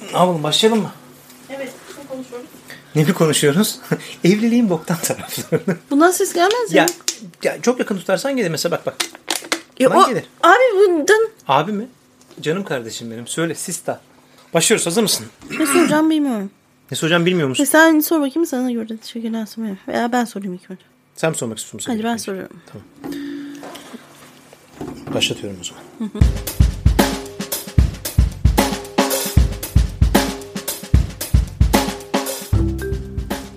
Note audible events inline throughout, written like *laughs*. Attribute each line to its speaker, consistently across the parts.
Speaker 1: Ne yapalım başlayalım mı?
Speaker 2: Evet, ne konuşuyoruz?
Speaker 1: Ne bir konuşuyoruz? *laughs* Evliliğin boktan taraflarını.
Speaker 2: Bundan ses gelmez
Speaker 1: *laughs*
Speaker 2: mi?
Speaker 1: ya, ya çok yakın tutarsan gelir mesela bak bak.
Speaker 2: Ya
Speaker 1: Bundan
Speaker 2: o-
Speaker 1: gelir.
Speaker 2: Abi bundan
Speaker 1: Abi mi? Canım kardeşim benim. Söyle sista. Başlıyoruz hazır mısın?
Speaker 2: ne soracağım bilmiyorum.
Speaker 1: Ne soracağım bilmiyor
Speaker 2: E
Speaker 1: musun?
Speaker 2: sen sor bakayım sana göre şekilden sormayayım. Veya ben sorayım ilk önce.
Speaker 1: Sen mi sormak istiyorsun?
Speaker 2: Hadi ben soruyorum.
Speaker 1: Başlatıyorum o zaman.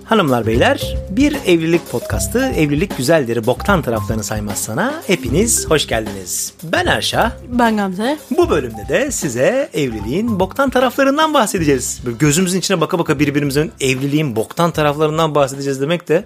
Speaker 1: Hanımlar beyler bir evlilik podcastı evlilik güzelleri boktan taraflarını saymaz sana hepiniz hoş geldiniz. Ben Erşah
Speaker 2: Ben Gamze.
Speaker 1: bu bölümde de size evliliğin boktan taraflarından bahsedeceğiz. Böyle gözümüzün içine baka baka birbirimizin evliliğin boktan taraflarından bahsedeceğiz demek de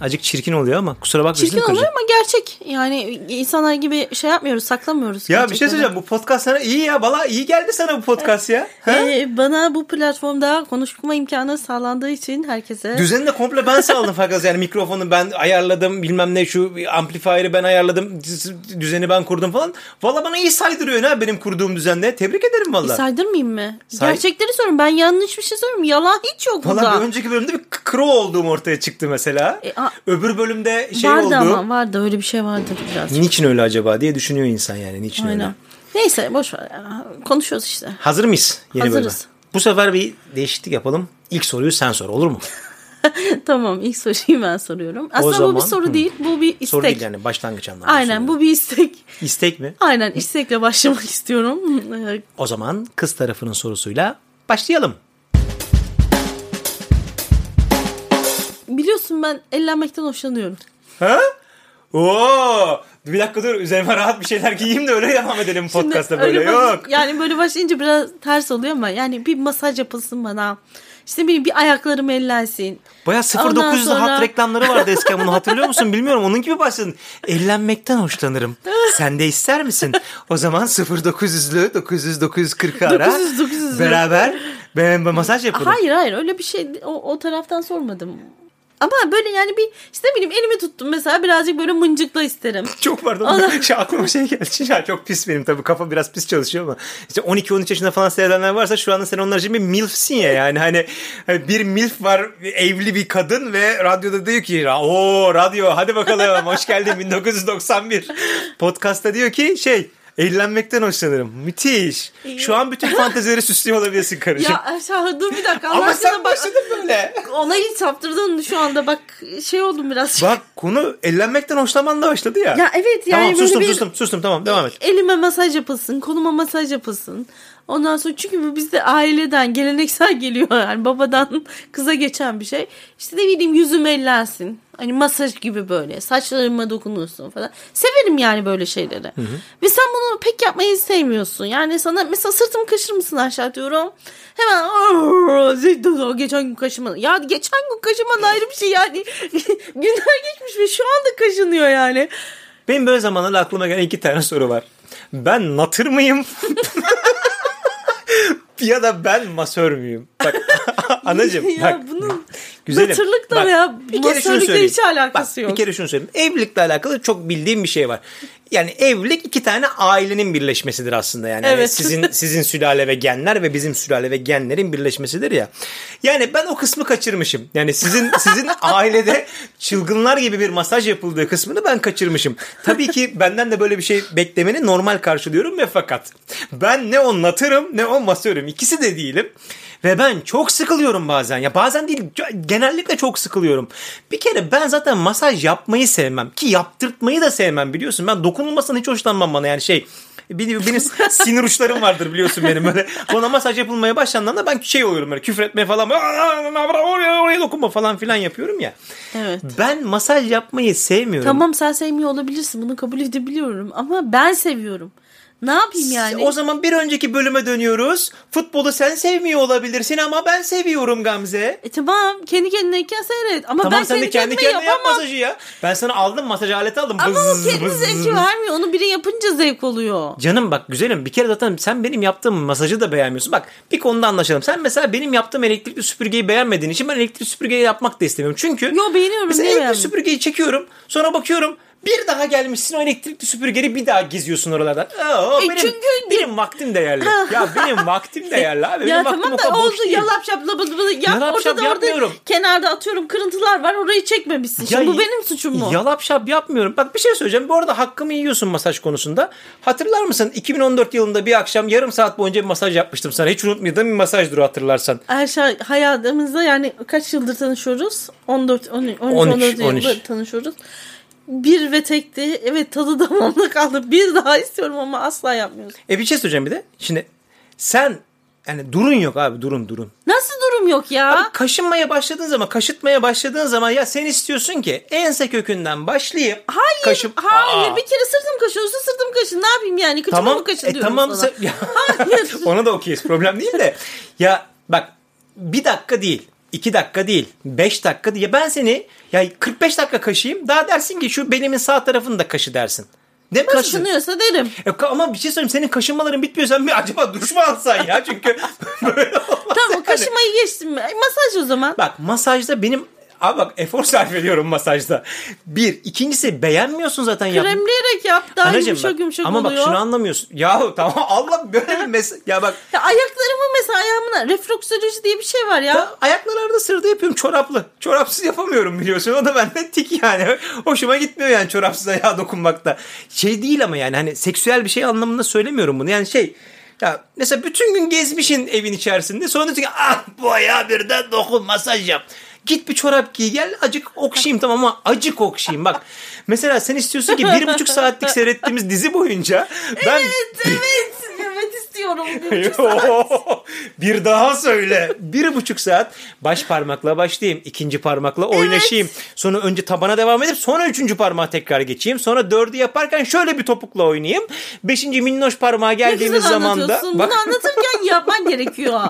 Speaker 1: acık çirkin oluyor ama kusura bakmayın.
Speaker 2: Çirkin
Speaker 1: kırıcı.
Speaker 2: olur ama gerçek. Yani insanlar gibi şey yapmıyoruz, saklamıyoruz.
Speaker 1: Ya bir şey
Speaker 2: gerçekleri.
Speaker 1: söyleyeceğim bu podcast sana iyi ya valla iyi geldi sana bu podcast ya. Ha?
Speaker 2: Ee, bana bu platformda konuşma imkanı sağlandığı için herkese
Speaker 1: Düzeni de komple ben sağladım fakat yani mikrofonu ben ayarladım bilmem ne şu amplifier'ı ben ayarladım düz- düzeni ben kurdum falan. Valla bana iyi saydırıyorsun ha benim kurduğum düzenle tebrik ederim
Speaker 2: E,
Speaker 1: valla.
Speaker 2: saydırmayayım mı?
Speaker 1: Say-
Speaker 2: Gerçekleri sorun. Ben yanlış bir şey soruyorum. Yalan hiç yok
Speaker 1: Valla bir
Speaker 2: burada.
Speaker 1: önceki bölümde bir kro olduğum ortaya çıktı mesela.
Speaker 2: E, a-
Speaker 1: Öbür bölümde şey
Speaker 2: vardı
Speaker 1: oldu.
Speaker 2: ama vardı öyle bir şey vardır biraz.
Speaker 1: Niçin öyle acaba diye düşünüyor insan şey yani niçin öyle.
Speaker 2: Aynen. Neyse boş ver. ya. Konuşuyoruz işte.
Speaker 1: Hazır mıyız yeni bölüme?
Speaker 2: Hazırız.
Speaker 1: Bu sefer bir değişiklik yapalım. İlk soruyu sen sor olur mu?
Speaker 2: tamam ilk soruyu ben soruyorum. Aslında bu bir
Speaker 1: zaman-
Speaker 2: soru
Speaker 1: Hı.
Speaker 2: değil. Bu bir istek.
Speaker 1: Soru değil yani başlangıç anlamında.
Speaker 2: Aynen bu bir istek.
Speaker 1: soruyorum. İstek mi?
Speaker 2: Aynen istekle başlamak *laughs* istiyorum. Ee,
Speaker 1: O zaman kız tarafının sorusuyla başlayalım.
Speaker 2: Biliyorsun ben ellenmekten hoşlanıyorum.
Speaker 1: Ha? Oo! Bir dakika dur üzerime rahat bir şeyler giyeyim de öyle devam edelim
Speaker 2: Şimdi
Speaker 1: podcast'ta böyle
Speaker 2: öyle baş-
Speaker 1: yok.
Speaker 2: Yani böyle başlayınca biraz ters oluyor ama yani bir masaj yapılsın bana. İşte bir, bir ayaklarım ellensin.
Speaker 1: Baya
Speaker 2: Ondan
Speaker 1: 0900
Speaker 2: sonra-
Speaker 1: hat reklamları vardı eskiden bunu hatırlıyor musun bilmiyorum. Onun gibi başladın. Ellenmekten hoşlanırım. Sen de ister misin? O zaman 0900'lü 900 940 ara
Speaker 2: 900, 900'lü.
Speaker 1: beraber ben, ben masaj yapalım.
Speaker 2: Hayır hayır öyle bir şey o, o taraftan sormadım. Ama böyle yani bir işte ne bileyim elimi tuttum mesela birazcık böyle mıncıkla isterim.
Speaker 1: Çok pardon. *laughs* Şey, aklıma şey geldi. Ya çok pis benim tabii. Kafa biraz pis çalışıyor ama. işte 12-13 yaşında falan seyredenler varsa şu anda sen onlar için bir milfsin ya. Yani hani hani bir milf var evli bir kadın ve radyoda diyor ki o radyo hadi bakalım hoş
Speaker 2: *laughs*
Speaker 1: geldin 1991. Podcast'ta diyor ki şey eğlenmekten hoşlanırım. Müthiş. Şu an bütün fantezileri süslüyor olabilirsin karıcığım.
Speaker 2: Ya Erşah dur bir dakika
Speaker 1: Şey-
Speaker 2: Allah
Speaker 1: ama
Speaker 2: aşkına
Speaker 1: sen
Speaker 2: bak-
Speaker 1: başladın böyle.
Speaker 2: Ona hiç saptırdın şu anda bak şey oldum biraz.
Speaker 1: Bak konu eğlenmekten hoşlanmanla başladı ya.
Speaker 2: Ya evet yani
Speaker 1: tamam
Speaker 2: böyle
Speaker 1: sustum
Speaker 2: bir-
Speaker 1: sustum sustum tamam devam et.
Speaker 2: Elime masaj yapılsın, koluma masaj yapılsın. Ondan sonra çünkü bizde aileden geleneksel geliyor yani babadan kıza geçen bir şey. İşte ne bileyim yüzüm ellensin. Hani masaj gibi böyle saçlarıma dokunursun falan. Severim yani böyle şeyleri. Ve sen bunu pek yapmayı sevmiyorsun. Yani sana mesela sırtımı kaşır mısın aşağı diyorum. Hemen "Arr, zeytin, geçen gün kaşımadın. Ya geçen gün kaşımadın ayrı bir şey yani. *laughs* Günler geçmiş ve şu anda kaşınıyor yani.
Speaker 1: Benim böyle zamanlarda aklıma gelen iki tane soru var. Ben natır mıyım? *laughs* ya da ben masör müyüm? Bak *laughs* anacığım
Speaker 2: *laughs* ya
Speaker 1: bak.
Speaker 2: bunun
Speaker 1: Güzelim.
Speaker 2: Batırlıkla
Speaker 1: Bak,
Speaker 2: veya
Speaker 1: bir kere şunu
Speaker 2: masörlükle
Speaker 1: söyleyeyim.
Speaker 2: hiç alakası
Speaker 1: Bak,
Speaker 2: yok.
Speaker 1: Bir kere şunu söyleyeyim. Evlilikle alakalı çok bildiğim bir şey var. Yani evlilik iki tane ailenin birleşmesidir aslında yani. Yani
Speaker 2: Evet.
Speaker 1: sizin sizin sülale ve genler ve bizim sülale ve genlerin birleşmesidir ya. Yani ben o kısmı kaçırmışım. Yani sizin sizin ailede çılgınlar gibi bir masaj yapıldığı kısmını ben kaçırmışım. Tabii ki benden de böyle bir şey beklemeni normal karşılıyorum ve fakat ben ne o natırım ne o masörüm. İkisi de değilim. Ve ben çok sıkılıyorum bazen. Ya bazen değil genellikle çok sıkılıyorum. Bir kere ben zaten masaj yapmayı sevmem. Ki yaptırtmayı da sevmem biliyorsun. Ben dokunulmasından hiç hoşlanmam bana yani şey. Benim, benim sinir uçlarım vardır biliyorsun benim böyle. Bana masaj yapılmaya başlandığında ben şey oluyorum böyle küfür etmeye falan. "Aa, Oraya, oraya dokunma falan filan yapıyorum ya.
Speaker 2: Evet.
Speaker 1: Ben masaj yapmayı sevmiyorum.
Speaker 2: Tamam sen sevmiyor olabilirsin bunu kabul edebiliyorum ama ben seviyorum. Ne yapayım yani?
Speaker 1: O zaman bir önceki bölüme dönüyoruz. Futbolu sen sevmiyor olabilirsin ama ben seviyorum Gamze.
Speaker 2: E tamam kendi kendineyken seyret ama
Speaker 1: tamam
Speaker 2: ben
Speaker 1: sen
Speaker 2: kendi,
Speaker 1: de kendi
Speaker 2: kendime
Speaker 1: kendine yap
Speaker 2: yapamam.
Speaker 1: masajı ya. Ben sana aldım masaj aleti aldım.
Speaker 2: Ama o
Speaker 1: Bız,
Speaker 2: kendi
Speaker 1: bız,
Speaker 2: zevki vermiyor onu biri yapınca zevk oluyor.
Speaker 1: Canım bak güzelim bir kere zaten sen benim yaptığım masajı da beğenmiyorsun. Bak bir konuda anlaşalım. Sen mesela benim yaptığım elektrikli süpürgeyi beğenmediğin için ben elektrikli süpürgeyi yapmak da istemiyorum. Çünkü
Speaker 2: Yo, beğeniyorum,
Speaker 1: mesela
Speaker 2: niye
Speaker 1: elektrikli
Speaker 2: beğenmiyorum?
Speaker 1: süpürgeyi çekiyorum sonra bakıyorum Bir daha gelmişsin o elektrikli süpürgeri bir daha geziyorsun oralardan. Oo,
Speaker 2: E
Speaker 1: benim,
Speaker 2: çünkü-
Speaker 1: benim vaktim değerli. ya benim
Speaker 2: *laughs*
Speaker 1: vaktim değerli abi. Benim
Speaker 2: ya
Speaker 1: vaktim
Speaker 2: tamam
Speaker 1: o kadar
Speaker 2: da
Speaker 1: boş
Speaker 2: oldu
Speaker 1: değil.
Speaker 2: yalap şap labı labı yap
Speaker 1: Yalap
Speaker 2: orada
Speaker 1: şap
Speaker 2: da orada
Speaker 1: yapmıyorum.
Speaker 2: kenarda atıyorum kırıntılar var orayı çekmemişsin.
Speaker 1: Ya-
Speaker 2: Şimdi bu benim suçum mu?
Speaker 1: Yalap şap yapmıyorum. Bak bir şey söyleyeceğim. Bu arada hakkımı yiyorsun masaj konusunda. Hatırlar mısın? 2014 yılında bir akşam yarım saat boyunca bir masaj yapmıştım sana. Hiç unutmadığım bir masajdır o hatırlarsan.
Speaker 2: Her şey hayatımızda yani kaç yıldır tanışıyoruz? 14 13 13,
Speaker 1: 13,
Speaker 2: 14
Speaker 1: 13.
Speaker 2: yıldır tanışıyoruz. Bir ve tekti. Evet tadı *laughs* damağımda kaldı. Bir daha istiyorum ama asla yapmıyoruz.
Speaker 1: E bir şey söyleyeceğim bir de. Şimdi sen yani durun yok abi durun durun.
Speaker 2: Nasıl durum yok ya?
Speaker 1: Abi kaşınmaya başladığın zaman, kaşıtmaya başladığın zaman ya sen istiyorsun ki ense kökünden başlayayım. Hayır,
Speaker 2: Hayır bir kere sırtım kaşınıyorsa sırtım kaşın. Ne yapayım yani? Kıçıma
Speaker 1: Tamam.
Speaker 2: mı kaşın
Speaker 1: e,
Speaker 2: diyorum
Speaker 1: tamam.
Speaker 2: sana.
Speaker 1: sen- *laughs* Ya,
Speaker 2: Hayır.
Speaker 1: *laughs* ona da okeyiz. Problem değil de. Ya bak bir dakika değil. iki dakika değil. Beş dakika değil. Ya ben seni ya 45 dakika kaşıyım. Daha dersin ki şu belimin sağ tarafını da kaşı dersin. Demezsin.
Speaker 2: Kaşınıyorsa derim.
Speaker 1: E, ka- ama bir şey söyleyeyim. Senin kaşınmaların bitmiyor. Sen bir acaba duş mu alsan ya? Çünkü *laughs* böyle olmaz.
Speaker 2: Tamam o
Speaker 1: yani.
Speaker 2: kaşımayı geçtim. Ay, Masaj o zaman.
Speaker 1: Bak masajda benim Abi bak efor sarf ediyorum masajda. Bir. ikincisi beğenmiyorsun zaten yap-
Speaker 2: Kremleyerek yap. Daha
Speaker 1: Anacığım
Speaker 2: yumuşak
Speaker 1: bak,
Speaker 2: yumuşak
Speaker 1: ama
Speaker 2: oluyor.
Speaker 1: bak şunu anlamıyorsun. Yahu tamam *laughs* Allah böyle bir mes- Ya bak
Speaker 2: Ya ayaklarımı mesela ayağımına reflüksoloji diye bir şey var ya.
Speaker 1: ben ayakları arada sırada yapıyorum çoraplı. Çorapsız yapamıyorum biliyorsun. O da bende tik yani. Hoşuma gitmiyor yani çorapsız ayağa dokunmakta. Şey değil ama yani hani seksüel bir şey anlamında söylemiyorum bunu. Yani şey ya mesela bütün gün gezmişin evin içerisinde. Sonra diyorsun ki ah bu ayağa birden dokun masaj yap. Git bir çorap giy gel acık okşayayım tamam ama acık okşayayım bak. Mesela sen istiyorsun ki bir buçuk saatlik seyrettiğimiz dizi boyunca ben
Speaker 2: Evet evet. Evet istiyorum.
Speaker 1: *laughs* Yo, bir daha söyle. bir buçuk saat baş parmakla başlayayım. ikinci parmakla oynaşayım. Sonra önce tabana devam edip sonra üçüncü parmağa tekrar geçeyim. Sonra dördü yaparken şöyle bir topukla oynayayım. Beşinci minnoş parmağa
Speaker 2: Ne
Speaker 1: geldiğimiz
Speaker 2: güzel
Speaker 1: zaman da...
Speaker 2: anlatıyorsun.
Speaker 1: Bak,
Speaker 2: Bunu anlatırken yapman gerekiyor.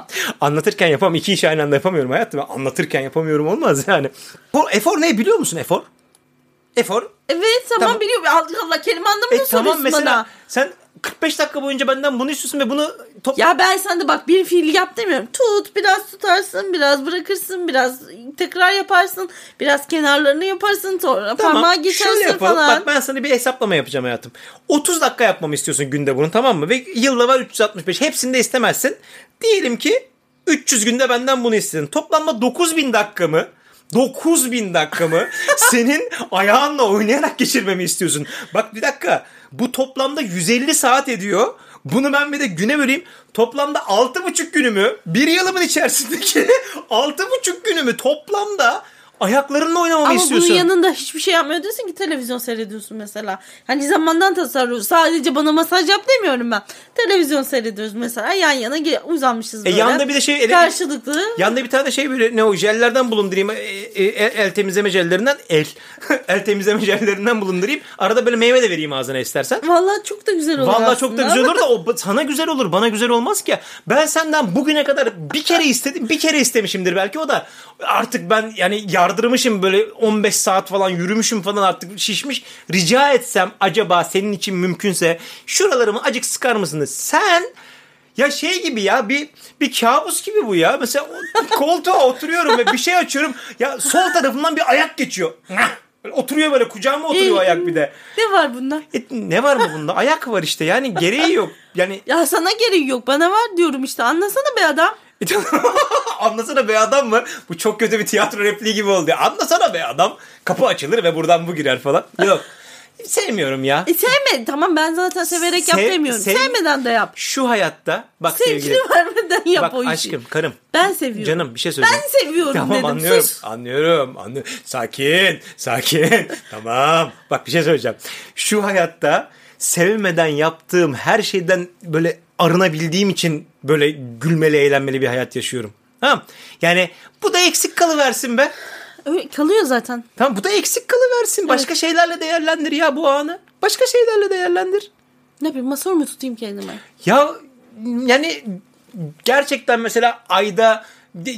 Speaker 1: anlatırken yapamam. iki iş aynı anda yapamıyorum hayatım. Anlatırken yapamıyorum olmaz yani. Bu efor ne biliyor musun efor? Efor
Speaker 2: Evet tamam,
Speaker 1: Tamam.
Speaker 2: biliyorum. Allah Allah kelime anlamını
Speaker 1: e,
Speaker 2: soruyorsun
Speaker 1: tamam mesela
Speaker 2: bana.
Speaker 1: sen 45 dakika boyunca benden bunu istiyorsun ve bunu top
Speaker 2: Ya ben sana bak bir fiil yap demiyorum. Tut biraz tutarsın biraz bırakırsın biraz tekrar yaparsın. Biraz kenarlarını yaparsın sonra parmağa geçersin
Speaker 1: yapalım.
Speaker 2: falan.
Speaker 1: Bak ben sana bir hesaplama yapacağım hayatım. 30 dakika yapmamı istiyorsun günde bunu tamam mı? Ve yılda var 365. Hepsini de istemezsin. Diyelim ki 300 günde benden bunu istedin. Toplamda 9000 dakikamı 9000
Speaker 2: *laughs*
Speaker 1: dakikamı senin ayağınla oynayarak geçirmemi istiyorsun. Bak bir dakika. Bu toplamda 150 saat ediyor. Bunu ben bir de güne böleyim. Toplamda 6,5 günümü bir yılımın içerisindeki *laughs* 6,5 günümü toplamda ayaklarınla oynamamı
Speaker 2: Ama
Speaker 1: istiyorsun.
Speaker 2: bunun yanında hiçbir şey yapmıyor diyorsun ki televizyon seyrediyorsun mesela. Hani zamandan tasarruf. Sadece bana masaj yap demiyorum ben. Televizyon seyrediyoruz mesela. Yan yana ge- uzanmışız böyle.
Speaker 1: yanda bir de şey-
Speaker 2: Karşılıklı.
Speaker 1: *laughs* Yanında bir tane şey böyle ne o jellerden bulundurayım. E, e, El, el temizleme jellerinden el. *laughs* el temizleme jellerinden bulundurayım. Arada böyle meyve de vereyim ağzına istersen.
Speaker 2: Vallahi çok da güzel olur
Speaker 1: Vallahi çok
Speaker 2: aslında.
Speaker 1: da güzel
Speaker 2: *laughs*
Speaker 1: olur da o sana güzel olur bana güzel olmaz ki. Ben senden bugüne kadar bir kere istedim bir kere istemişimdir belki o da artık ben yani yardırmışım böyle 15 saat falan yürümüşüm falan artık şişmiş. Rica etsem acaba senin için mümkünse şuralarımı acık sıkar mısınız? Sen ya şey gibi ya bir bir kabus gibi bu ya. Mesela o- koltuğa oturuyorum ve bir şey açıyorum. Ya sol tarafından bir ayak geçiyor. Böyle Oturuyor böyle kucağıma
Speaker 2: *laughs*
Speaker 1: oturuyor ayak bir de.
Speaker 2: Ne var bunda?
Speaker 1: E, ne var mı bunda? Ayak var işte. Yani gereği yok. Yani *laughs*
Speaker 2: Ya sana gereği yok. Bana var diyorum işte. Anlasana be adam.
Speaker 1: anlasana be adam mı? Bu çok kötü bir tiyatro repliği gibi oldu. ya. Anlasana be adam. Kapı açılır ve buradan bu girer falan. Yok. Sevmiyorum ya.
Speaker 2: E sevme. Tamam ben zaten severek yap
Speaker 1: Sev-
Speaker 2: demiyorum.
Speaker 1: sev-
Speaker 2: Sevmeden de yap.
Speaker 1: Şu hayatta bak
Speaker 2: *laughs* Sevgili
Speaker 1: sevgili.
Speaker 2: vermeden yap
Speaker 1: Bak
Speaker 2: o işi.
Speaker 1: aşkım, karım.
Speaker 2: Ben seviyorum.
Speaker 1: Canım bir şey söyleyeceğim.
Speaker 2: Ben seviyorum
Speaker 1: Tamam
Speaker 2: dedim.
Speaker 1: anlıyorum.
Speaker 2: Sus.
Speaker 1: Anlıyorum. anlı- Sakin. Sakin. *laughs* tamam. Bak bir şey söyleyeceğim. Şu hayatta sevmeden yaptığım her şeyden böyle arınabildiğim için böyle gülmeli eğlenmeli bir hayat yaşıyorum. Tamam. Yani bu da eksik kalıversin be.
Speaker 2: Öyle kalıyor zaten.
Speaker 1: Tamam bu da eksik kalıversin. Başka şeylerle değerlendir ya bu anı. Başka şeylerle değerlendir.
Speaker 2: Ne bileyim masör mu tutayım kendime?
Speaker 1: Ya yani gerçekten mesela ayda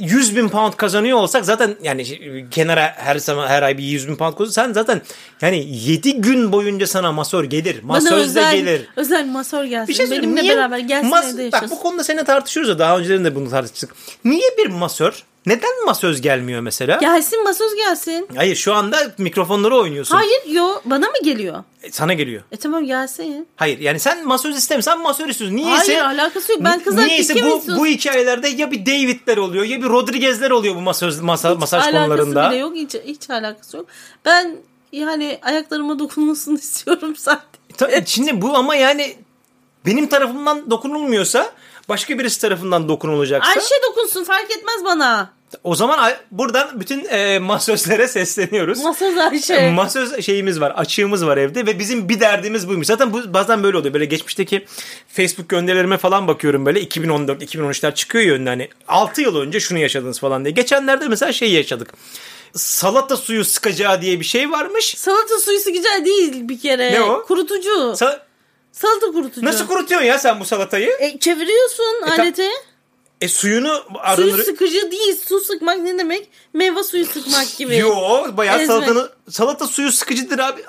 Speaker 1: 100 bin pound kazanıyor olsak zaten yani şey, kenara her zaman her ay bir 100 bin pound kazanıyorsan sen zaten yani 7 gün boyunca sana masör gelir.
Speaker 2: Bana
Speaker 1: Masöz de
Speaker 2: özel,
Speaker 1: gelir.
Speaker 2: özel masör gelsin.
Speaker 1: Bir şey söyleyeyim.
Speaker 2: Benimle
Speaker 1: niye
Speaker 2: beraber gelsin
Speaker 1: mas-
Speaker 2: evde
Speaker 1: Bak
Speaker 2: yaşasın.
Speaker 1: bu konuda seninle tartışıyoruz ya daha önceden de bunu tartıştık. Niye bir masör Neden masöz gelmiyor mesela?
Speaker 2: Gelsin masöz gelsin.
Speaker 1: Hayır şu anda mikrofonları oynuyorsun.
Speaker 2: Hayır yo bana mı geliyor?
Speaker 1: E, Sana geliyor.
Speaker 2: E tamam gelsin.
Speaker 1: Hayır yani sen masöz istemiyorsan masör istiyorsun. Niyeyse,
Speaker 2: Hayır alakası yok. Ben kızlar
Speaker 1: niyeyse
Speaker 2: kim
Speaker 1: bu, bu hikayelerde ya bir David'ler oluyor ya bir Rodriguez'ler oluyor bu masöz, masa, masaj konularında.
Speaker 2: Alakası bile yok. Hiç, hiç alakası yok. Ben yani ayaklarıma dokunulmasını *laughs* istiyorum zaten.
Speaker 1: Tabii e, şimdi bu ama yani benim tarafımdan dokunulmuyorsa başka birisi tarafından dokunulacaksa
Speaker 2: Ayşe dokunsun fark etmez bana.
Speaker 1: o zaman ay- buradan bütün e, masözlere sesleniyoruz.
Speaker 2: Masöz Ayşe.
Speaker 1: Masöz şeyimiz var, açığımız var evde ve bizim bir derdimiz buymuş. Zaten bu bazen böyle oluyor. Böyle geçmişteki Facebook gönderilerime falan bakıyorum böyle 2014, 2013'ler çıkıyor ya önüne hani 6 yıl önce şunu yaşadınız falan diye. Geçenlerde mesela şey yaşadık. Salata suyu sıkacağı diye bir şey varmış.
Speaker 2: Salata suyu sıkacağı değil bir kere.
Speaker 1: Ne o?
Speaker 2: Kurutucu.
Speaker 1: Sa-
Speaker 2: Salata kurutucu.
Speaker 1: Nasıl kurutuyorsun ya sen bu salatayı?
Speaker 2: E, çeviriyorsun
Speaker 1: ta-
Speaker 2: aleti.
Speaker 1: E suyunu
Speaker 2: Suyu
Speaker 1: arındırıyor.
Speaker 2: sıkıcı değil. Su sıkmak ne demek? Meyve suyu sıkmak gibi.
Speaker 1: Yo bayağı
Speaker 2: Ezme.
Speaker 1: salatanı salata suyu sıkıcıdır abi.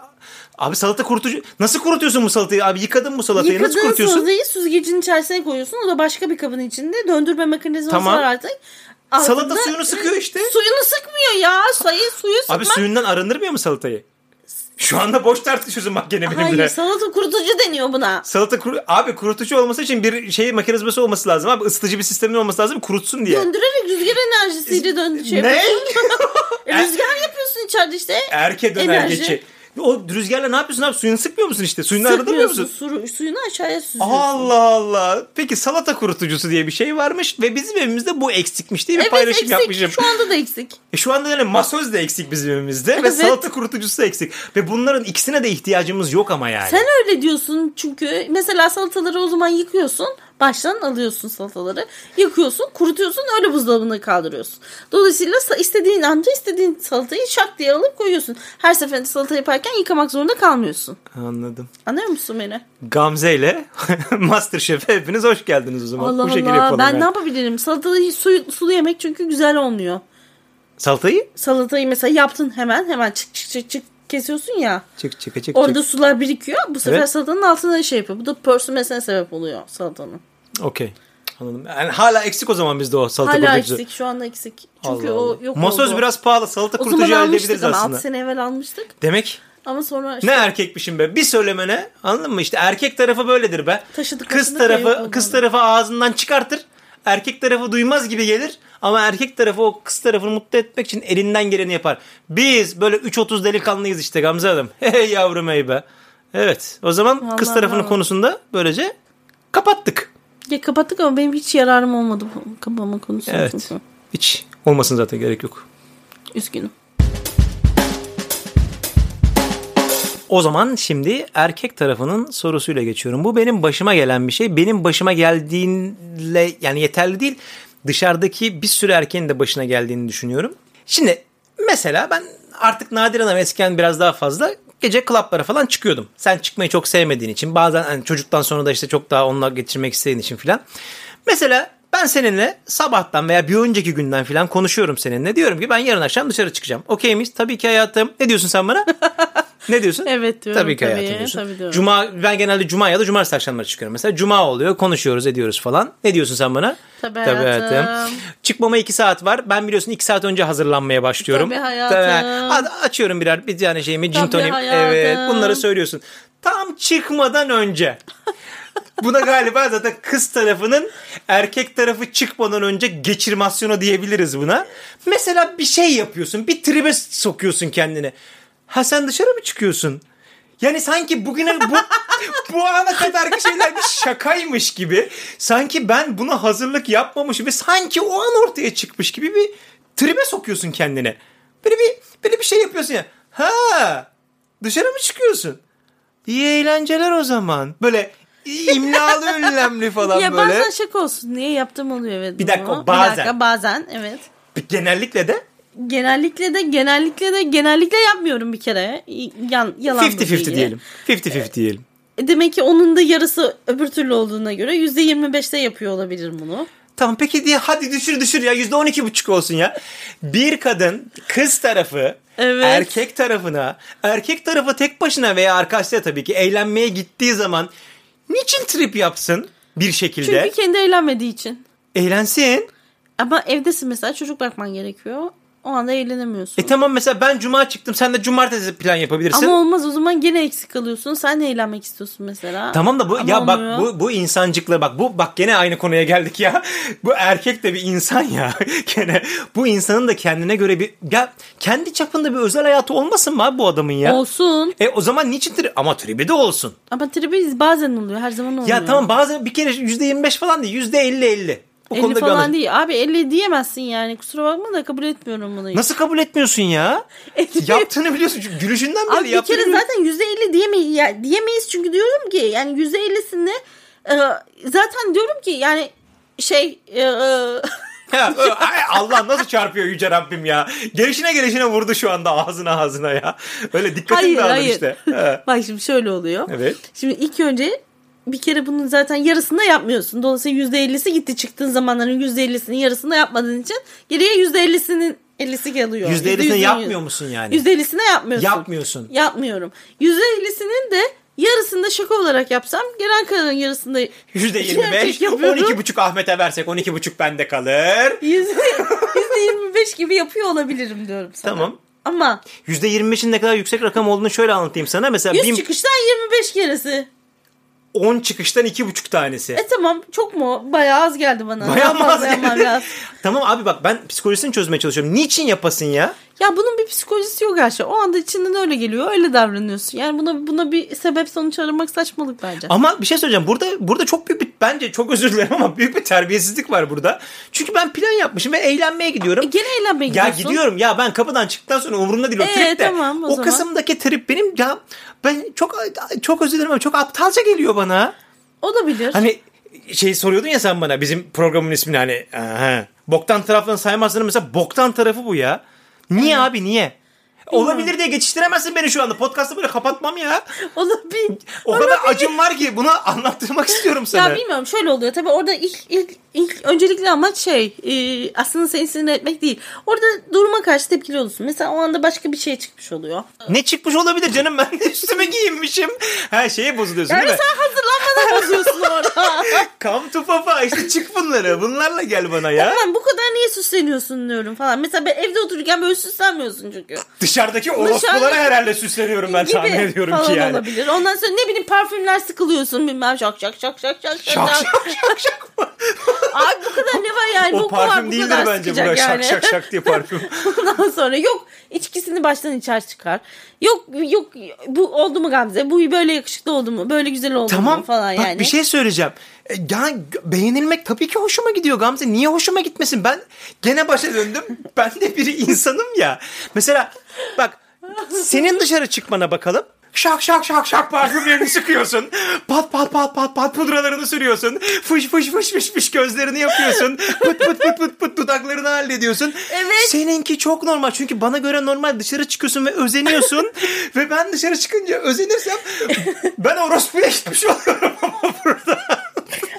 Speaker 1: Abi salata kurutucu. Nasıl kurutuyorsun bu salatayı? Abi yıkadın bu salatayı. Nasıl
Speaker 2: Yıkadığın
Speaker 1: kurutuyorsun?
Speaker 2: salatayı süzgecin içerisine koyuyorsun. O da başka bir kabın içinde. Döndürme mekanizması
Speaker 1: Tamam.
Speaker 2: var artık.
Speaker 1: Salata
Speaker 2: Altında-
Speaker 1: suyunu sıkıyor işte.
Speaker 2: Suyunu sıkmıyor ya. Sayı suyu sıkmak.
Speaker 1: Abi suyundan arındırmıyor mu salatayı? Şu anda boş tartışıyorsun bak gene benimle.
Speaker 2: Hayır salata kurutucu deniyor buna.
Speaker 1: Salata kuru... Abi kurutucu olması için bir şey makinizması olması lazım abi. Isıtıcı bir sistemin olması lazım kurutsun diye.
Speaker 2: Döndürerek rüzgar enerjisiyle döndür. Şey
Speaker 1: ne? *laughs*
Speaker 2: yapıyorsun. E, rüzgar yapıyorsun içeride işte.
Speaker 1: Erke döner
Speaker 2: Enerji.
Speaker 1: geçi. O rüzgarla ne yapıyorsun abi? Suyunu sıkmıyor musun işte? Suyunu arındırmıyor
Speaker 2: Sıkmıyorsun.
Speaker 1: musun?
Speaker 2: Su, suyunu aşağıya süzüyorsun.
Speaker 1: Allah Allah. Peki salata kurutucusu diye bir şey varmış ve bizim evimizde bu eksikmiş diye bir paylaşım
Speaker 2: eksik.
Speaker 1: yapmışım.
Speaker 2: Şu anda da eksik.
Speaker 1: E şu anda yani masöz de eksik bizim evimizde ve
Speaker 2: Evet.
Speaker 1: salata kurutucusu da eksik. Ve bunların ikisine de ihtiyacımız yok ama yani.
Speaker 2: Sen öyle diyorsun çünkü mesela salataları o zaman yıkıyorsun. Baştan alıyorsun salataları. Yıkıyorsun, kurutuyorsun, öyle buzdolabına kaldırıyorsun. Dolayısıyla sa- istediğin anda istediğin salatayı şak diye alıp koyuyorsun. Her seferinde salata yaparken yıkamak zorunda kalmıyorsun.
Speaker 1: Anladım.
Speaker 2: Anlıyor musun beni?
Speaker 1: Gamze ile *laughs* Masterchef'e hepiniz hoş geldiniz o zaman.
Speaker 2: Allah
Speaker 1: Bu şekilde
Speaker 2: Allah.
Speaker 1: yapalım.
Speaker 2: Ben
Speaker 1: yani.
Speaker 2: ne yapabilirim? Salatayı suyu, sulu yemek çünkü güzel olmuyor.
Speaker 1: Salatayı
Speaker 2: Salatayı mesela yaptın hemen hemen çık çık çık çık kesiyorsun ya.
Speaker 1: çık çık çık çık.
Speaker 2: Orada sular birikiyor. Bu sefer
Speaker 1: Evet.
Speaker 2: salatanın altına da şey yapıyor. Bu da pörsümesine sebep oluyor salatanın.
Speaker 1: Okey. Anladım. Yani hala eksik o zaman bizde o salata
Speaker 2: Hala
Speaker 1: kurutucusu.
Speaker 2: eksik şu anda eksik. Çünkü
Speaker 1: Allah Allah.
Speaker 2: o yok
Speaker 1: Masöz
Speaker 2: oldu.
Speaker 1: biraz pahalı. Salata
Speaker 2: o zaman
Speaker 1: kurutucu elde edebiliriz
Speaker 2: almıştık ama 6
Speaker 1: aslında.
Speaker 2: sene evvel almıştık.
Speaker 1: Demek
Speaker 2: Ama sonra
Speaker 1: ne
Speaker 2: işte
Speaker 1: erkekmişim be. Bir söylemene anladın mı? İşte erkek tarafı böyledir be.
Speaker 2: Taşıdık,
Speaker 1: kız
Speaker 2: taşıdık ya, yok
Speaker 1: tarafı
Speaker 2: oldu.
Speaker 1: kız tarafı ağzından çıkartır. Erkek tarafı duymaz gibi gelir ama erkek tarafı o kız tarafını mutlu etmek için elinden geleni yapar. Biz böyle 3.30 delikanlıyız işte Gamze Hanım. *laughs* Hey yavrum hey be. Evet o zaman
Speaker 2: Vallahi
Speaker 1: kız tarafının
Speaker 2: bravo.
Speaker 1: konusunda böylece kapattık.
Speaker 2: Ya kapattık ama benim hiç yararım olmadı bu kapama konusunda. *laughs*
Speaker 1: Evet.
Speaker 2: çünkü.
Speaker 1: Hiç olmasın zaten gerek yok.
Speaker 2: Üzgünüm.
Speaker 1: O zaman şimdi erkek tarafının sorusuyla geçiyorum. Bu benim başıma gelen bir şey. Benim başıma geldiğinle yani yeterli değil. Dışarıdaki bir sürü erkeğin de başına geldiğini düşünüyorum. Şimdi mesela ben artık nadiren ama eskiden biraz daha fazla gece klaplara falan çıkıyordum. Sen çıkmayı çok sevmediğin için bazen hani çocuktan sonra da işte çok daha onunla geçirmek istediğin için filan. Mesela ben seninle sabahtan veya bir önceki günden filan konuşuyorum seninle. Diyorum ki ben yarın akşam dışarı çıkacağım. Okey miyiz? Tabii ki hayatım. Ne diyorsun sen bana? ne diyorsun?
Speaker 2: Evet diyorum,
Speaker 1: Tabii ki
Speaker 2: tabii,
Speaker 1: hayatım diyorsun.
Speaker 2: tabii diyorum.
Speaker 1: Cuma, ben genelde cuma ya da cumartesi akşamları çıkıyorum. Mesela cuma oluyor konuşuyoruz ediyoruz falan. Ne diyorsun sen bana?
Speaker 2: Tabii hayatım.
Speaker 1: Çıkmama iki saat var. Ben biliyorsun iki saat önce hazırlanmaya başlıyorum.
Speaker 2: Tabii hayatım.
Speaker 1: Tabii. A- Açıyorum birer bir tane şeyimi. Gin
Speaker 2: Tabii
Speaker 1: tonic.
Speaker 2: hayatım.
Speaker 1: Evet bunları söylüyorsun. Tam çıkmadan önce. Buna galiba zaten kız tarafının erkek tarafı çıkmadan önce geçirmasyonu diyebiliriz buna. Mesela bir şey yapıyorsun. Bir tribe sokuyorsun kendini. Ha sen dışarı mı çıkıyorsun? Yani sanki bugüne
Speaker 2: *laughs*
Speaker 1: bu, bu ana kadarki şeyler bir şakaymış gibi. Sanki ben buna hazırlık yapmamışım ve sanki o an ortaya çıkmış gibi bir tribe sokuyorsun kendine. Böyle bir böyle bir şey yapıyorsun ya. Ha dışarı mı çıkıyorsun? İyi eğlenceler o zaman. Böyle
Speaker 2: *laughs*
Speaker 1: imlalı ünlemli falan
Speaker 2: ya
Speaker 1: böyle.
Speaker 2: bazen şaka olsun diye yaptığım oluyor evet.
Speaker 1: Bir dakika,
Speaker 2: bunu.
Speaker 1: o bazen.
Speaker 2: Bir dakika bazen evet.
Speaker 1: Genellikle de
Speaker 2: Genellikle de genellikle de genellikle yapmıyorum bir kere. Yan, yalan
Speaker 1: 50-50
Speaker 2: bilgi.
Speaker 1: diyelim. 50-50 diyelim.
Speaker 2: E, Demek ki onun da yarısı öbür türlü olduğuna göre %25'te yapıyor olabilir bunu.
Speaker 1: Tamam peki diye hadi düşür düşür ya yüzde on iki buçuk olsun ya. Bir kadın kız tarafı
Speaker 2: Evet.
Speaker 1: erkek tarafına erkek tarafı tek başına veya arkadaşlar tabii ki eğlenmeye gittiği zaman niçin trip yapsın bir şekilde?
Speaker 2: Çünkü kendi eğlenmediği için.
Speaker 1: Eğlensin.
Speaker 2: Ama evdesin mesela çocuk bakman gerekiyor. O anda eğlenemiyorsun.
Speaker 1: E tamam mesela ben cuma çıktım sen de cumartesi plan yapabilirsin.
Speaker 2: Ama olmaz o zaman gene eksik kalıyorsun. Sen de eğlenmek istiyorsun mesela.
Speaker 1: Tamam da bu
Speaker 2: Ama
Speaker 1: ya bak
Speaker 2: olmuyor.
Speaker 1: bu bu insancıkla bak bu bak gene aynı konuya geldik ya. *laughs* Bu erkek de bir insan ya. *laughs* gene bu insanın da kendine göre bir ya kendi çapında bir özel hayatı olmasın mı abi bu adamın ya?
Speaker 2: Olsun.
Speaker 1: E o zaman niçin tri- ama tribi de olsun.
Speaker 2: Ama tribiz bazen oluyor. Her zaman olmuyor.
Speaker 1: Ya tamam bazen bir kere %25 falan değil %50-50. O
Speaker 2: 50
Speaker 1: konuda bir
Speaker 2: falan
Speaker 1: anlaşma-
Speaker 2: değil. Abi 50 diyemezsin yani. Kusura bakma da kabul etmiyorum bunu. *laughs*
Speaker 1: Nasıl kabul etmiyorsun ya?
Speaker 2: Etmiyorum.
Speaker 1: Yaptığını biliyorsun çünkü gülüşünden beri
Speaker 2: Abi bir
Speaker 1: yaptığını
Speaker 2: kere
Speaker 1: biliyorsun.
Speaker 2: zaten %50 diyemeyiz, ya, diyemeyiz çünkü diyorum ki yani %50'sini e, zaten diyorum ki yani şey e, e, *laughs*
Speaker 1: Ya, ö- ay, Allah nasıl çarpıyor yüce Rabbim ya. Gelişine gelişine vurdu şu anda ağzına ağzına ya. Öyle dikkatim
Speaker 2: hayır
Speaker 1: dağılır
Speaker 2: hayır.
Speaker 1: işte. He.
Speaker 2: Bak şimdi şöyle oluyor.
Speaker 1: Evet.
Speaker 2: Şimdi ilk önce bir kere bunun zaten yarısını da yapmıyorsun. Dolayısıyla %50'si gitti çıktığın zamanların %50'sinin yarısını da yapmadığın için geriye %50'sinin 50'si kalıyor.
Speaker 1: %50'sini yapmıyor musun yani?
Speaker 2: %50'sini yapmıyorsun.
Speaker 1: Yapmıyorsun.
Speaker 2: Yapmıyorum. %50'sinin de yarısını da şaka olarak yapsam gelen kalanın yarısında
Speaker 1: %25,
Speaker 2: Gerçek yapıyorum.
Speaker 1: 12,5 Ahmet'e versek 12,5 bende kalır.
Speaker 2: yüzde %25 gibi yapıyor olabilirim diyorum sana.
Speaker 1: Tamam.
Speaker 2: Ama
Speaker 1: %25'in ne kadar yüksek rakam olduğunu şöyle anlatayım sana. Mesela
Speaker 2: 100
Speaker 1: bin-
Speaker 2: çıkıştan 25 gerisi.
Speaker 1: 10 çıkıştan 2,5 tanesi.
Speaker 2: E tamam çok mu? Bayağı az geldi bana.
Speaker 1: Bayağı
Speaker 2: Daha fazla
Speaker 1: az
Speaker 2: yapmam
Speaker 1: geldi.
Speaker 2: lazım.
Speaker 1: Tamam abi bak ben psikolojisini çözmeye çalışıyorum. Niçin yapasın ya?
Speaker 2: Ya bunun bir psikolojisi yok her şey. O anda içinden öyle geliyor. Öyle davranıyorsun. Yani buna buna bir sebep sonuç aramak saçmalık bence.
Speaker 1: Ama bir şey söyleyeceğim. Burada burada çok büyük bir bence çok özür dilerim ama büyük bir terbiyesizlik var burada. Çünkü ben plan yapmışım ve eğlenmeye gidiyorum.
Speaker 2: E gene eğlenmeye
Speaker 1: Ya
Speaker 2: gidiyorsun.
Speaker 1: gidiyorum ya ben kapıdan çıktıktan sonra umurumda değil o
Speaker 2: Ee,
Speaker 1: trip de.
Speaker 2: tamam, o
Speaker 1: o
Speaker 2: zaman.
Speaker 1: kısımdaki trip benim ya ben çok çok özür dilerim ama çok aptalca geliyor bana.
Speaker 2: Olabilir.
Speaker 1: Hani şey soruyordun ya sen bana bizim programın ismini hani aha, boktan tarafını saymazsın mesela boktan tarafı bu ya. Niye abi niye? Olabilir diye geçiştiremezsin beni şu anda. Podcast'ı böyle kapatmam ya.
Speaker 2: *laughs* Olabilir.
Speaker 1: O kadar acım var ki bunu anlattırmak istiyorum sana.
Speaker 2: Ya bilmiyorum şöyle oluyor. Tabii orada ilk ilk ilk öncelikli amaç şey e, aslında seni sinir etmek değil. Orada duruma karşı tepkili olursun. Mesela o anda başka bir şey çıkmış oluyor.
Speaker 1: Ne çıkmış olabilir canım ben de üstüme giyinmişim. Her şeye bozuluyorsun
Speaker 2: Yani
Speaker 1: değil mi?
Speaker 2: sen hazırlanmadan bozuyorsun orada.
Speaker 1: *laughs* Come to papa işte çık bunları. Bunlarla gel bana ya.
Speaker 2: Ulan bu kadar niye süsleniyorsun diyorum falan. Mesela ben evde otururken böyle süslenmiyorsun çünkü.
Speaker 1: Dışarıdaki orospulara
Speaker 2: Dışarıda-
Speaker 1: herhalde süsleniyorum ben tahmin
Speaker 2: gibi
Speaker 1: ediyorum
Speaker 2: falan
Speaker 1: ki yani.
Speaker 2: olabilir. Ondan sonra ne bileyim parfümler sıkılıyorsun bilmem şak şak şak şak şak
Speaker 1: Şak şak şak şak.
Speaker 2: Abi bu kadar ne var yani?
Speaker 1: O
Speaker 2: Boku var,
Speaker 1: parfüm
Speaker 2: bu
Speaker 1: değildir
Speaker 2: kadar
Speaker 1: bence
Speaker 2: sıkacak
Speaker 1: buna. Şak
Speaker 2: yani.
Speaker 1: şak şak diye parfüm.
Speaker 2: *laughs* Ondan sonra yok içkisini baştan içer çıkar. Yok yok bu oldu mu Gamze? Bu böyle yakışıklı oldu mu? Böyle güzel oldu
Speaker 1: Tamam
Speaker 2: mu falan
Speaker 1: bak
Speaker 2: yani. *laughs*
Speaker 1: bir şey söyleyeceğim. E, Ya g- beğenilmek tabii ki hoşuma gidiyor Gamze. Niye hoşuma gitmesin? Ben gene başa döndüm. *laughs* ben de bir insanım ya. Mesela bak senin dışarı çıkmana bakalım. Şak şak şak şak parfümlerini sıkıyorsun. Pat pat pat pat pat pudralarını sürüyorsun. Fış fış fış fış fış gözlerini yapıyorsun. Pıt pıt pıt pıt pıt dudaklarını hallediyorsun.
Speaker 2: Evet.
Speaker 1: Seninki çok normal. Çünkü bana göre normal dışarı çıkıyorsun ve
Speaker 2: *laughs*
Speaker 1: özeniyorsun. ve ben dışarı çıkınca özenirsem ben orospuya gitmiş oluyorum.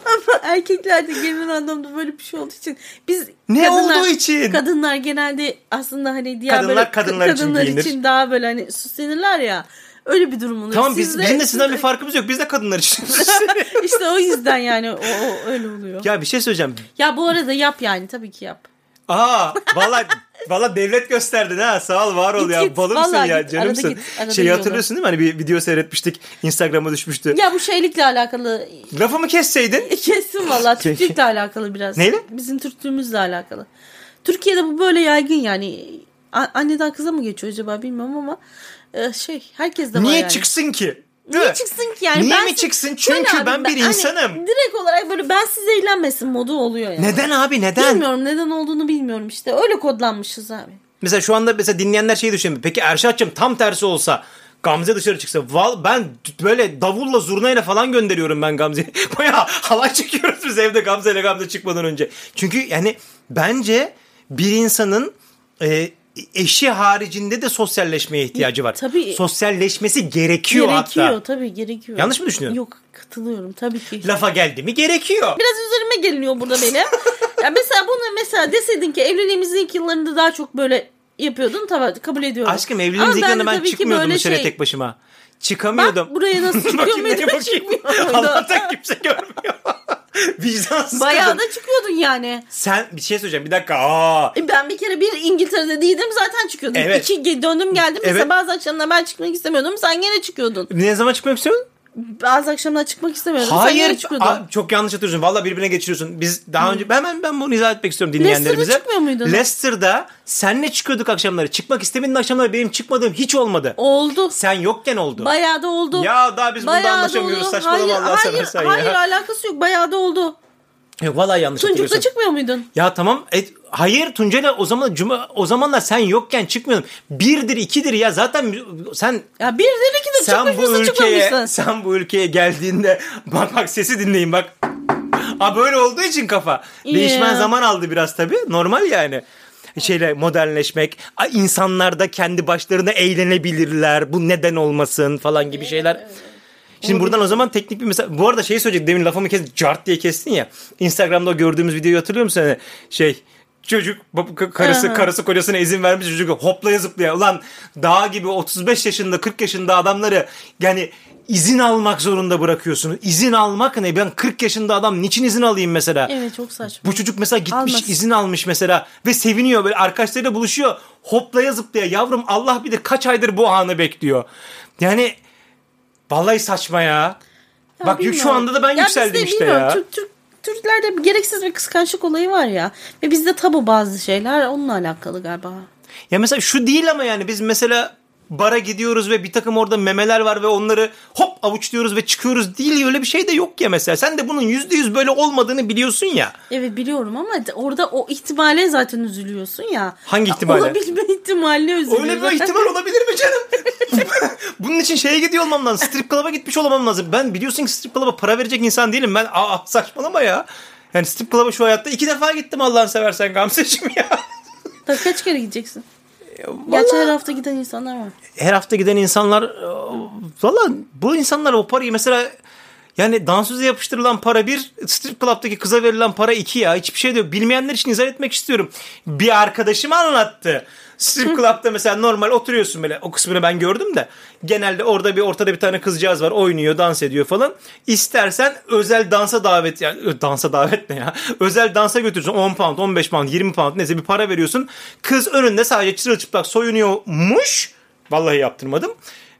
Speaker 2: Ama erkeklerde genel anlamda böyle bir şey olduğu için biz
Speaker 1: Ne olduğu için?
Speaker 2: Kadınlar genelde aslında hani diğer
Speaker 1: Kadınlar
Speaker 2: böyle
Speaker 1: kadınlar için
Speaker 2: kadınlar
Speaker 1: giyinir.
Speaker 2: için daha böyle hani süslenirler ya. Öyle bir durum oluyor.
Speaker 1: tamam biz,
Speaker 2: Sizde-
Speaker 1: bizim de sizden bir farkımız yok. Biz de kadınlar
Speaker 2: *laughs*
Speaker 1: için.
Speaker 2: İşte o yüzden yani o, o öyle oluyor. Ya,
Speaker 1: ya bir şey söyleyeceğim.
Speaker 2: bu arada yap yani tabii ki yap.
Speaker 1: *laughs* Aa valla valla devlet gösterdin ha sağ ol var ol
Speaker 2: Git,
Speaker 1: ya
Speaker 2: git.
Speaker 1: balımsın
Speaker 2: Vallahi
Speaker 1: ya
Speaker 2: git. Arada
Speaker 1: canımsın.
Speaker 2: git, arada
Speaker 1: Şeyi
Speaker 2: iyi olur.
Speaker 1: hatırlıyorsun değil mi hani bir video seyretmiştik Instagram'a düşmüştü.
Speaker 2: Ya bu şeylikle alakalı
Speaker 1: Lafımı kesseydin
Speaker 2: kesin valla Türklükle alakalı biraz.
Speaker 1: Şey- Neyle?
Speaker 2: Bizim Türklüğümüzle alakalı. Türkiye'de bu böyle yaygın yani. A- anneden kıza mı geçiyor acaba bilmiyorum ama e, şey herkes de var
Speaker 1: niye
Speaker 2: yani.
Speaker 1: çıksın ki? Değil
Speaker 2: Niye
Speaker 1: mi?
Speaker 2: çıksın ki yani?
Speaker 1: Niye mi
Speaker 2: siz-
Speaker 1: çıksın? Çünkü
Speaker 2: abi,
Speaker 1: ben bir
Speaker 2: hani
Speaker 1: insanım.
Speaker 2: direkt olarak böyle ben siz eğlenmesin modu oluyor yani.
Speaker 1: Neden abi neden?
Speaker 2: Bilmiyorum neden olduğunu bilmiyorum işte. Öyle kodlanmışız abi.
Speaker 1: Mesela şu anda mesela dinleyenler şey düşünüyor. Peki Erşat'cığım tam tersi olsa Gamze dışarı çıksa val ben böyle davulla zurnayla falan gönderiyorum ben Gamze'yi. *laughs* Bayağı halay çekiyoruz biz evde Gamze ile Gamze çıkmadan önce. Çünkü yani bence bir insanın e, eşi haricinde de sosyalleşmeye ihtiyacı var.
Speaker 2: Tabii.
Speaker 1: Sosyalleşmesi gerekiyor,
Speaker 2: gerekiyor
Speaker 1: hatta.
Speaker 2: tabii gerekiyor.
Speaker 1: Yanlış mı düşünüyorum?
Speaker 2: Yok katılıyorum tabii ki.
Speaker 1: Lafa geldi mi gerekiyor.
Speaker 2: Biraz üzerime geliniyor
Speaker 1: *laughs*
Speaker 2: burada benim. ya mesela bunu mesela deseydin ki evliliğimizin ilk yıllarında daha çok böyle yapıyordun tabii kabul ediyorum.
Speaker 1: Aşkım evliliğimiz
Speaker 2: Ama
Speaker 1: ilk
Speaker 2: ben de
Speaker 1: yanında ben
Speaker 2: tabii ki
Speaker 1: çıkmıyordum
Speaker 2: böyle
Speaker 1: dışarıya
Speaker 2: şey-
Speaker 1: tek başıma.
Speaker 2: Bak
Speaker 1: Çıkamıyordum.
Speaker 2: buraya nasıl çıkıyor
Speaker 1: *laughs* Bakayım neye
Speaker 2: muydu
Speaker 1: bakayım. *laughs*
Speaker 2: çıkmıyor muydu?
Speaker 1: Allah'tan kimse görmüyor. *laughs* Vicdansız
Speaker 2: Bayağı
Speaker 1: kadın.
Speaker 2: da çıkıyordun yani.
Speaker 1: Sen bir şey söyleyeceğim bir dakika. Aa.
Speaker 2: E, Ben bir kere bir İngiltere'de değildim zaten çıkıyordum.
Speaker 1: Evet.
Speaker 2: İki ge- döndüm geldim. Mesela
Speaker 1: Evet.
Speaker 2: bazı akşamlar ben çıkmak istemiyordum. Sen gene çıkıyordun.
Speaker 1: Ne zaman çıkmak istiyorsun?
Speaker 2: Bazı akşamlar çıkmak istemiyordum. Sen gene
Speaker 1: Hayır.
Speaker 2: çıkıyordun.
Speaker 1: Aa, çok yanlış hatırlıyorsun. Valla birbirine geçiriyorsun. Biz daha önce ben ben, ben bunu izah etmek istiyorum
Speaker 2: Leicester'da
Speaker 1: dinleyenlerimize.
Speaker 2: çıkmıyor muydun?
Speaker 1: Leicester'da senle çıkıyorduk akşamları. Çıkmak istemediğin akşamları benim çıkmadığım hiç olmadı.
Speaker 2: Oldu.
Speaker 1: Sen yokken oldu.
Speaker 2: Bayağı da oldu.
Speaker 1: ya daha biz bunda
Speaker 2: Bayağı da
Speaker 1: anlaşamıyoruz.
Speaker 2: oldu.
Speaker 1: Saçmalama
Speaker 2: hayır,
Speaker 1: Allah
Speaker 2: hayır,
Speaker 1: seversen
Speaker 2: hayır,
Speaker 1: ya.
Speaker 2: alakası yok. Bayağı da oldu.
Speaker 1: Yok valla yanlış
Speaker 2: Tuncuk'ta
Speaker 1: hatırlıyorsun.
Speaker 2: çıkmıyor muydun?
Speaker 1: Ya tamam. E, hayır Tuncay'la o zaman cuma o zamanlar sen yokken çıkmıyordun. Birdir ikidir ya zaten sen
Speaker 2: Ya bir de iki de
Speaker 1: sen bu
Speaker 2: çıkmamışsın
Speaker 1: ülkeye
Speaker 2: çıkmamışsın.
Speaker 1: sen bu ülkeye geldiğinde *laughs* bak bak sesi dinleyin bak. Ha böyle olduğu için kafa. Değişmen
Speaker 2: Ya.
Speaker 1: zaman aldı biraz tabii. Normal yani. Şeyle modernleşmek, a- insanlar da kendi başlarına eğlenebilirler. Bu neden olmasın falan gibi şeyler. Şimdi buradan o zaman teknik bir mesela bu arada şeyi söyleyecek demin lafımı kes cart diye kestin ya. Instagram'da o gördüğümüz videoyu hatırlıyor musun? Hani şey çocuk bab- ka- karısı
Speaker 2: Aha.
Speaker 1: karısı kocasına izin vermiş çocuk hoplaya zıplaya. Ulan dağ gibi 35 yaşında 40 yaşında adamları yani izin almak zorunda bırakıyorsunuz. İzin almak ne? Ben 40 yaşında adam niçin izin alayım mesela?
Speaker 2: Evet çok saçma.
Speaker 1: Bu çocuk mesela gitmiş
Speaker 2: Almasın.
Speaker 1: izin almış mesela ve seviniyor böyle arkadaşlarıyla buluşuyor. Hoplaya zıplaya yavrum Allah bilir kaç aydır bu anı bekliyor. Yani vallahi saçma ya.
Speaker 2: Ya
Speaker 1: Bak
Speaker 2: bilmiyorum.
Speaker 1: şu anda da ben
Speaker 2: Ya
Speaker 1: yükseldim
Speaker 2: bizde
Speaker 1: işte
Speaker 2: bilmiyorum,
Speaker 1: ya.
Speaker 2: Türk, Türk, Türklerde bir gereksiz bir kıskançlık olayı var ya. Ve bizde tabu bazı şeyler onunla alakalı galiba.
Speaker 1: Ya mesela şu değil ama yani biz mesela bara gidiyoruz ve bir takım orada memeler var ve onları hop avuçluyoruz ve çıkıyoruz değil öyle bir şey de yok ya mesela. Sen de bunun yüzde yüz böyle olmadığını biliyorsun ya.
Speaker 2: Evet biliyorum ama de- orada o ihtimale zaten üzülüyorsun ya.
Speaker 1: Hangi
Speaker 2: Ya,
Speaker 1: ihtimale?
Speaker 2: Olabilme *laughs* ihtimaline üzülüyorsun.
Speaker 1: Öyle bir ihtimal olabilir mi canım? *laughs* Bunun için şeye gidiyor olmam lazım. Strip club'a gitmiş olmam lazım. Ben biliyorsun ki strip club'a para verecek insan değilim. Ben aa saçmalama ya. Yani strip club'a şu hayatta iki defa gittim Allah'ını seversen Gamze'cim ya.
Speaker 2: Ta kaç kere gideceksin? Gerçi her hafta giden insanlar var.
Speaker 1: her hafta giden insanlar e, valla bu insanlar o parayı mesela yani dansöze yapıştırılan para bir strip club'daki kıza verilen para iki ya hiçbir şey diyor. Bilmeyenler için izah etmek istiyorum. Bir arkadaşım anlattı. Strip club'da mesela normal oturuyorsun böyle o kısmını ben gördüm de genelde orada bir ortada bir tane kızcağız var oynuyor dans ediyor falan. İstersen özel dansa davet yani ö, dansa davet ne ya? Özel dansa götürürsün 10 pound 15 pound 20 pound neyse bir para veriyorsun. Kız önünde sadece çırılçıplak soyunuyormuş. Vallahi yaptırmadım.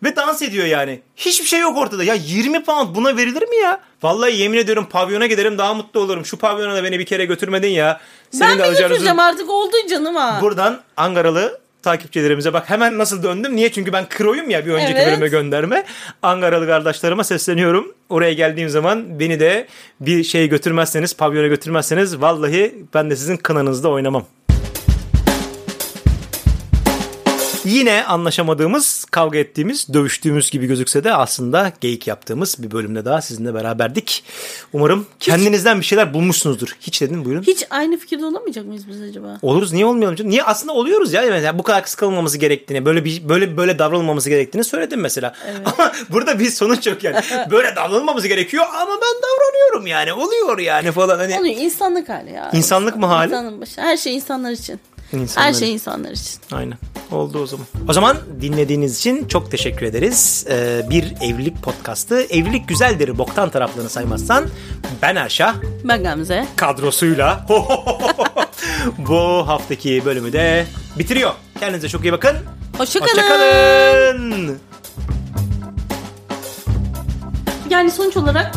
Speaker 1: Ve dans ediyor yani. Hiçbir şey yok ortada. Ya 20 pound buna verilir mi ya? Vallahi yemin ediyorum pavyona giderim daha mutlu olurum. Şu pavyona da beni bir kere götürmedin ya. Senin
Speaker 2: ben
Speaker 1: de
Speaker 2: mi
Speaker 1: alacağın
Speaker 2: götüreceğim
Speaker 1: üzüm-
Speaker 2: artık oldu canım ha.
Speaker 1: Buradan Angaralı takipçilerimize bak hemen nasıl döndüm. Niye? Çünkü ben kroyum ya bir önceki
Speaker 2: Evet.
Speaker 1: bölüme gönderme. Angaralı kardeşlerime sesleniyorum. Oraya geldiğim zaman beni de bir şey götürmezseniz, pavyona götürmezseniz vallahi ben de sizin kınanızda oynamam. Yine anlaşamadığımız, kavga ettiğimiz, dövüştüğümüz gibi gözükse de aslında geyik yaptığımız bir bölümde daha sizinle beraberdik. Umarım kendinizden bir şeyler bulmuşsunuzdur. Hiç dedim buyurun.
Speaker 2: Hiç aynı fikirde olamayacak mıyız biz acaba?
Speaker 1: Oluruz niye olmayalım canım? Niye aslında oluyoruz ya yani bu kadar kıskanılmaması gerektiğini, böyle bir böyle böyle davranılmaması gerektiğini söyledim mesela. Ama *laughs* burada bir sonuç yok yani. böyle davranılmamız gerekiyor ama ben davranıyorum yani. Oluyor yani falan hani.
Speaker 2: Onu insanlık hali ya.
Speaker 1: İnsanlık mı hali?
Speaker 2: İnsanın başı. Her şey insanlar için.
Speaker 1: İnsanlar
Speaker 2: Her şey insanlar için.
Speaker 1: Aynen. Oldu o zaman. O zaman dinlediğiniz için çok teşekkür ederiz. Ee, bir evlilik podcastı. Evlilik güzeldir boktan taraflarını saymazsan. Ben Erşah.
Speaker 2: Ben Gamze.
Speaker 1: kadrosuyla *laughs* bu haftaki bölümü de bitiriyor. Kendinize çok iyi bakın.
Speaker 2: Hoşçakalın.
Speaker 1: Hoşçakalın.
Speaker 2: Yani sonuç olarak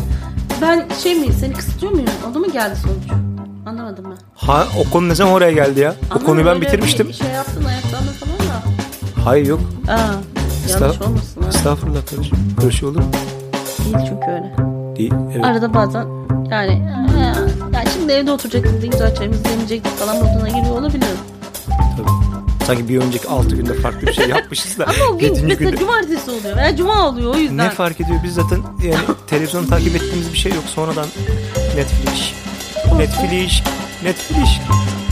Speaker 2: ben şey miyim seni kısıtlıyor muyum? Oldu mu geldi sonuç? Anlamadım ben.
Speaker 1: Ha o konu ne zaman oraya geldi ya? O
Speaker 2: Anlamadım,
Speaker 1: konuyu ben
Speaker 2: öyle
Speaker 1: bitirmiştim.
Speaker 2: Bir şey yaptın ayaklanma falan da.
Speaker 1: Hayır yok.
Speaker 2: Aa, yanlış
Speaker 1: Estağ-
Speaker 2: olmasın ha.
Speaker 1: Estağfurullah kardeşim. Böyle şey olur mu?
Speaker 2: Değil çünkü öyle.
Speaker 1: Değil. Evet.
Speaker 2: Arada bazen yani "Aa, ya şimdi evde oturacaktık ne güzel çayımızı demeyecektik falan moduna giriyor olabilirim.
Speaker 1: Tabii. Sanki bir önceki 6 günde farklı bir şey yapmışız da.
Speaker 2: *laughs* Ama o gün
Speaker 1: yedinci
Speaker 2: mesela
Speaker 1: günde-
Speaker 2: cumartesi oluyor veya cuma oluyor o yüzden.
Speaker 1: Ne fark ediyor? Biz zaten yani televizyonu takip ettiğimiz bir şey yok. Sonradan Netflix. Netflix. Netflix.